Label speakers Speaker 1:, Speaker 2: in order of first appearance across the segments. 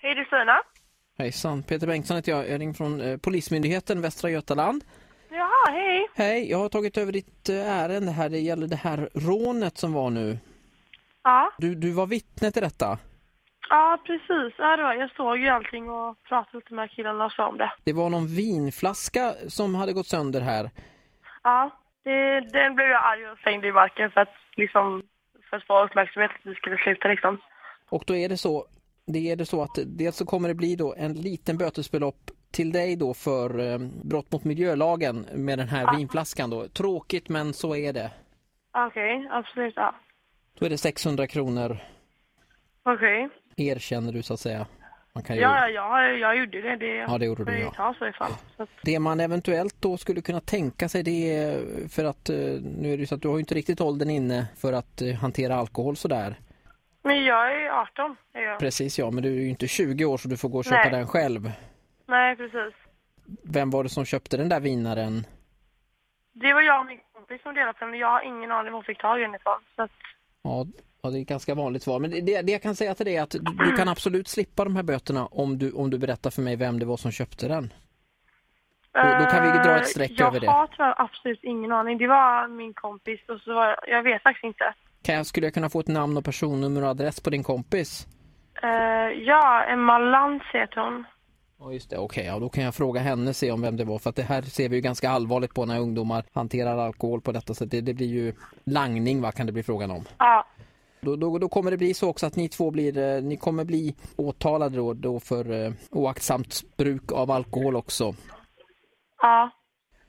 Speaker 1: Kristina.
Speaker 2: Hejsan, Peter Bengtsson heter jag. Jag ringer från eh, Polismyndigheten Västra Götaland.
Speaker 1: Jaha, hej.
Speaker 2: Hej, jag har tagit över ditt eh, ärende här. Det gäller det här rånet som var nu.
Speaker 1: Ja,
Speaker 2: Du, du var vittne till detta.
Speaker 1: ja precis. Ja, det var. Jag såg ju allting och pratade lite med killarna också om det.
Speaker 2: Det var någon vinflaska som hade gått sönder här.
Speaker 1: Ja, det, den blev jag arg och slängde i marken för att liksom för att få uppmärksamhet att vi skulle sluta liksom.
Speaker 2: Och då är det så, det är det så att dels så kommer det bli då en liten bötesbelopp till dig då för eh, brott mot miljölagen med den här vinflaskan då. Tråkigt men så är det.
Speaker 1: Okej, absolut. Ja.
Speaker 2: Då är det 600 kronor
Speaker 1: Okej.
Speaker 2: erkänner du så att säga. Man kan ju...
Speaker 1: Ja, ja, ja, jag gjorde det. det
Speaker 2: Ja, det gjorde
Speaker 1: får
Speaker 2: du,
Speaker 1: jag
Speaker 2: ja.
Speaker 1: ta så i fall. Så att,
Speaker 2: Det man eventuellt då skulle kunna tänka sig det är för att eh, nu är det ju så att du har ju inte riktigt åldern inne för att eh, hantera alkohol sådär.
Speaker 1: men jag är 18. Är jag.
Speaker 2: Precis ja, men du är ju inte 20 år så du får gå och köpa
Speaker 1: Nej.
Speaker 2: den själv.
Speaker 1: Nej, precis.
Speaker 2: Vem var det som köpte den där vinaren?
Speaker 1: Det var jag och min kompis som delade på den, men jag har ingen aning om hon fick tag i den ifrån. Så att,
Speaker 2: Ja, ja, det är ett ganska vanligt svar. Men det- det, det jag kan säga till dig är att du, du kan absolut slippa de här böterna om du, om du berättar för mig vem det var som köpte den. Då- då kan vi dra ett
Speaker 1: Eh,
Speaker 2: streck
Speaker 1: jag
Speaker 2: över det.
Speaker 1: Jag har tyvärr absolut ingen aning. Det var min kompis och så var jag vet faktiskt inte.
Speaker 2: Kan jag, skulle jag kunna få ett namn och personnummer och adress på din kompis?
Speaker 1: Eh, ja, Emma Lantz heter hon.
Speaker 2: Ja, just det. Okej, ja, då kan jag fråga henne se om vem det var. För att det här ser vi ju ganska allvarligt på när ungdomar hanterar alkohol på detta sätt. Det, det blir ju langning, vad kan det bli frågan om?
Speaker 1: Ja,
Speaker 2: Då, då, då kommer det bli så också att ni två blir, eh, ni kommer bli åtalade då, då för eh, oaktsamt bruk av alkohol också.
Speaker 1: ja,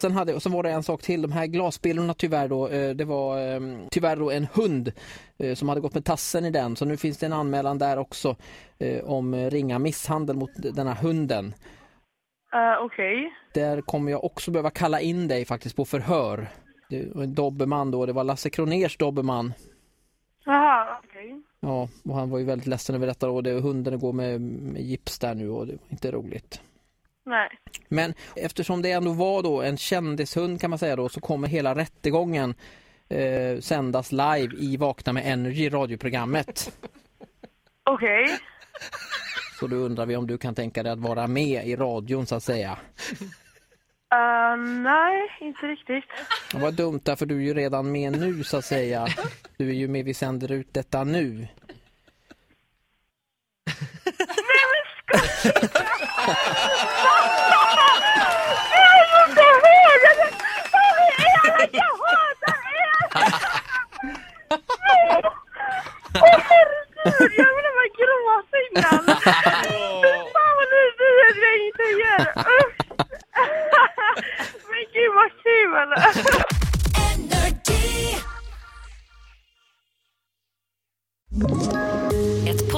Speaker 2: Sen, hade, och sen var det en sak till, de här glasbilderna tyvärr då, eh, det var eh, tyvärr då en hund eh, som hade gått med tassen i den. Så nu finns det en anmälan där också eh, om eh, ringa misshandel mot den här hunden.
Speaker 1: eh, okej.
Speaker 2: Där kommer jag också behöva kalla in dig faktiskt på förhör. Det var en dobermann då, det var Lasse Kroners dobermann.
Speaker 1: Jaha, okej.
Speaker 2: Ja, och han var ju väldigt ledsen över detta och det, hunden går med, med gips där nu och det var inte roligt.
Speaker 1: Nej.
Speaker 2: Men eftersom det ändå var då en kändishund kan man säga då så kommer hela rättegången eh, sändas live i Vakna med Energy radioprogrammet.
Speaker 1: Okej.
Speaker 2: Så då undrar vi om du kan tänka dig att vara med i radion så att säga.
Speaker 1: Eh, nej, inte riktigt.
Speaker 2: Det var dumt därför du är ju redan med nu så att säga. Du är ju med, vi sänder ut detta nu.
Speaker 1: Jag hatar er! Jag hatar er! Jag hatar er! Åh herregud, jag ville bara gråta innan. Fy fan vad ni säger att jag ingenting gör. Usch. Men gud vad kul!
Speaker 3: Ett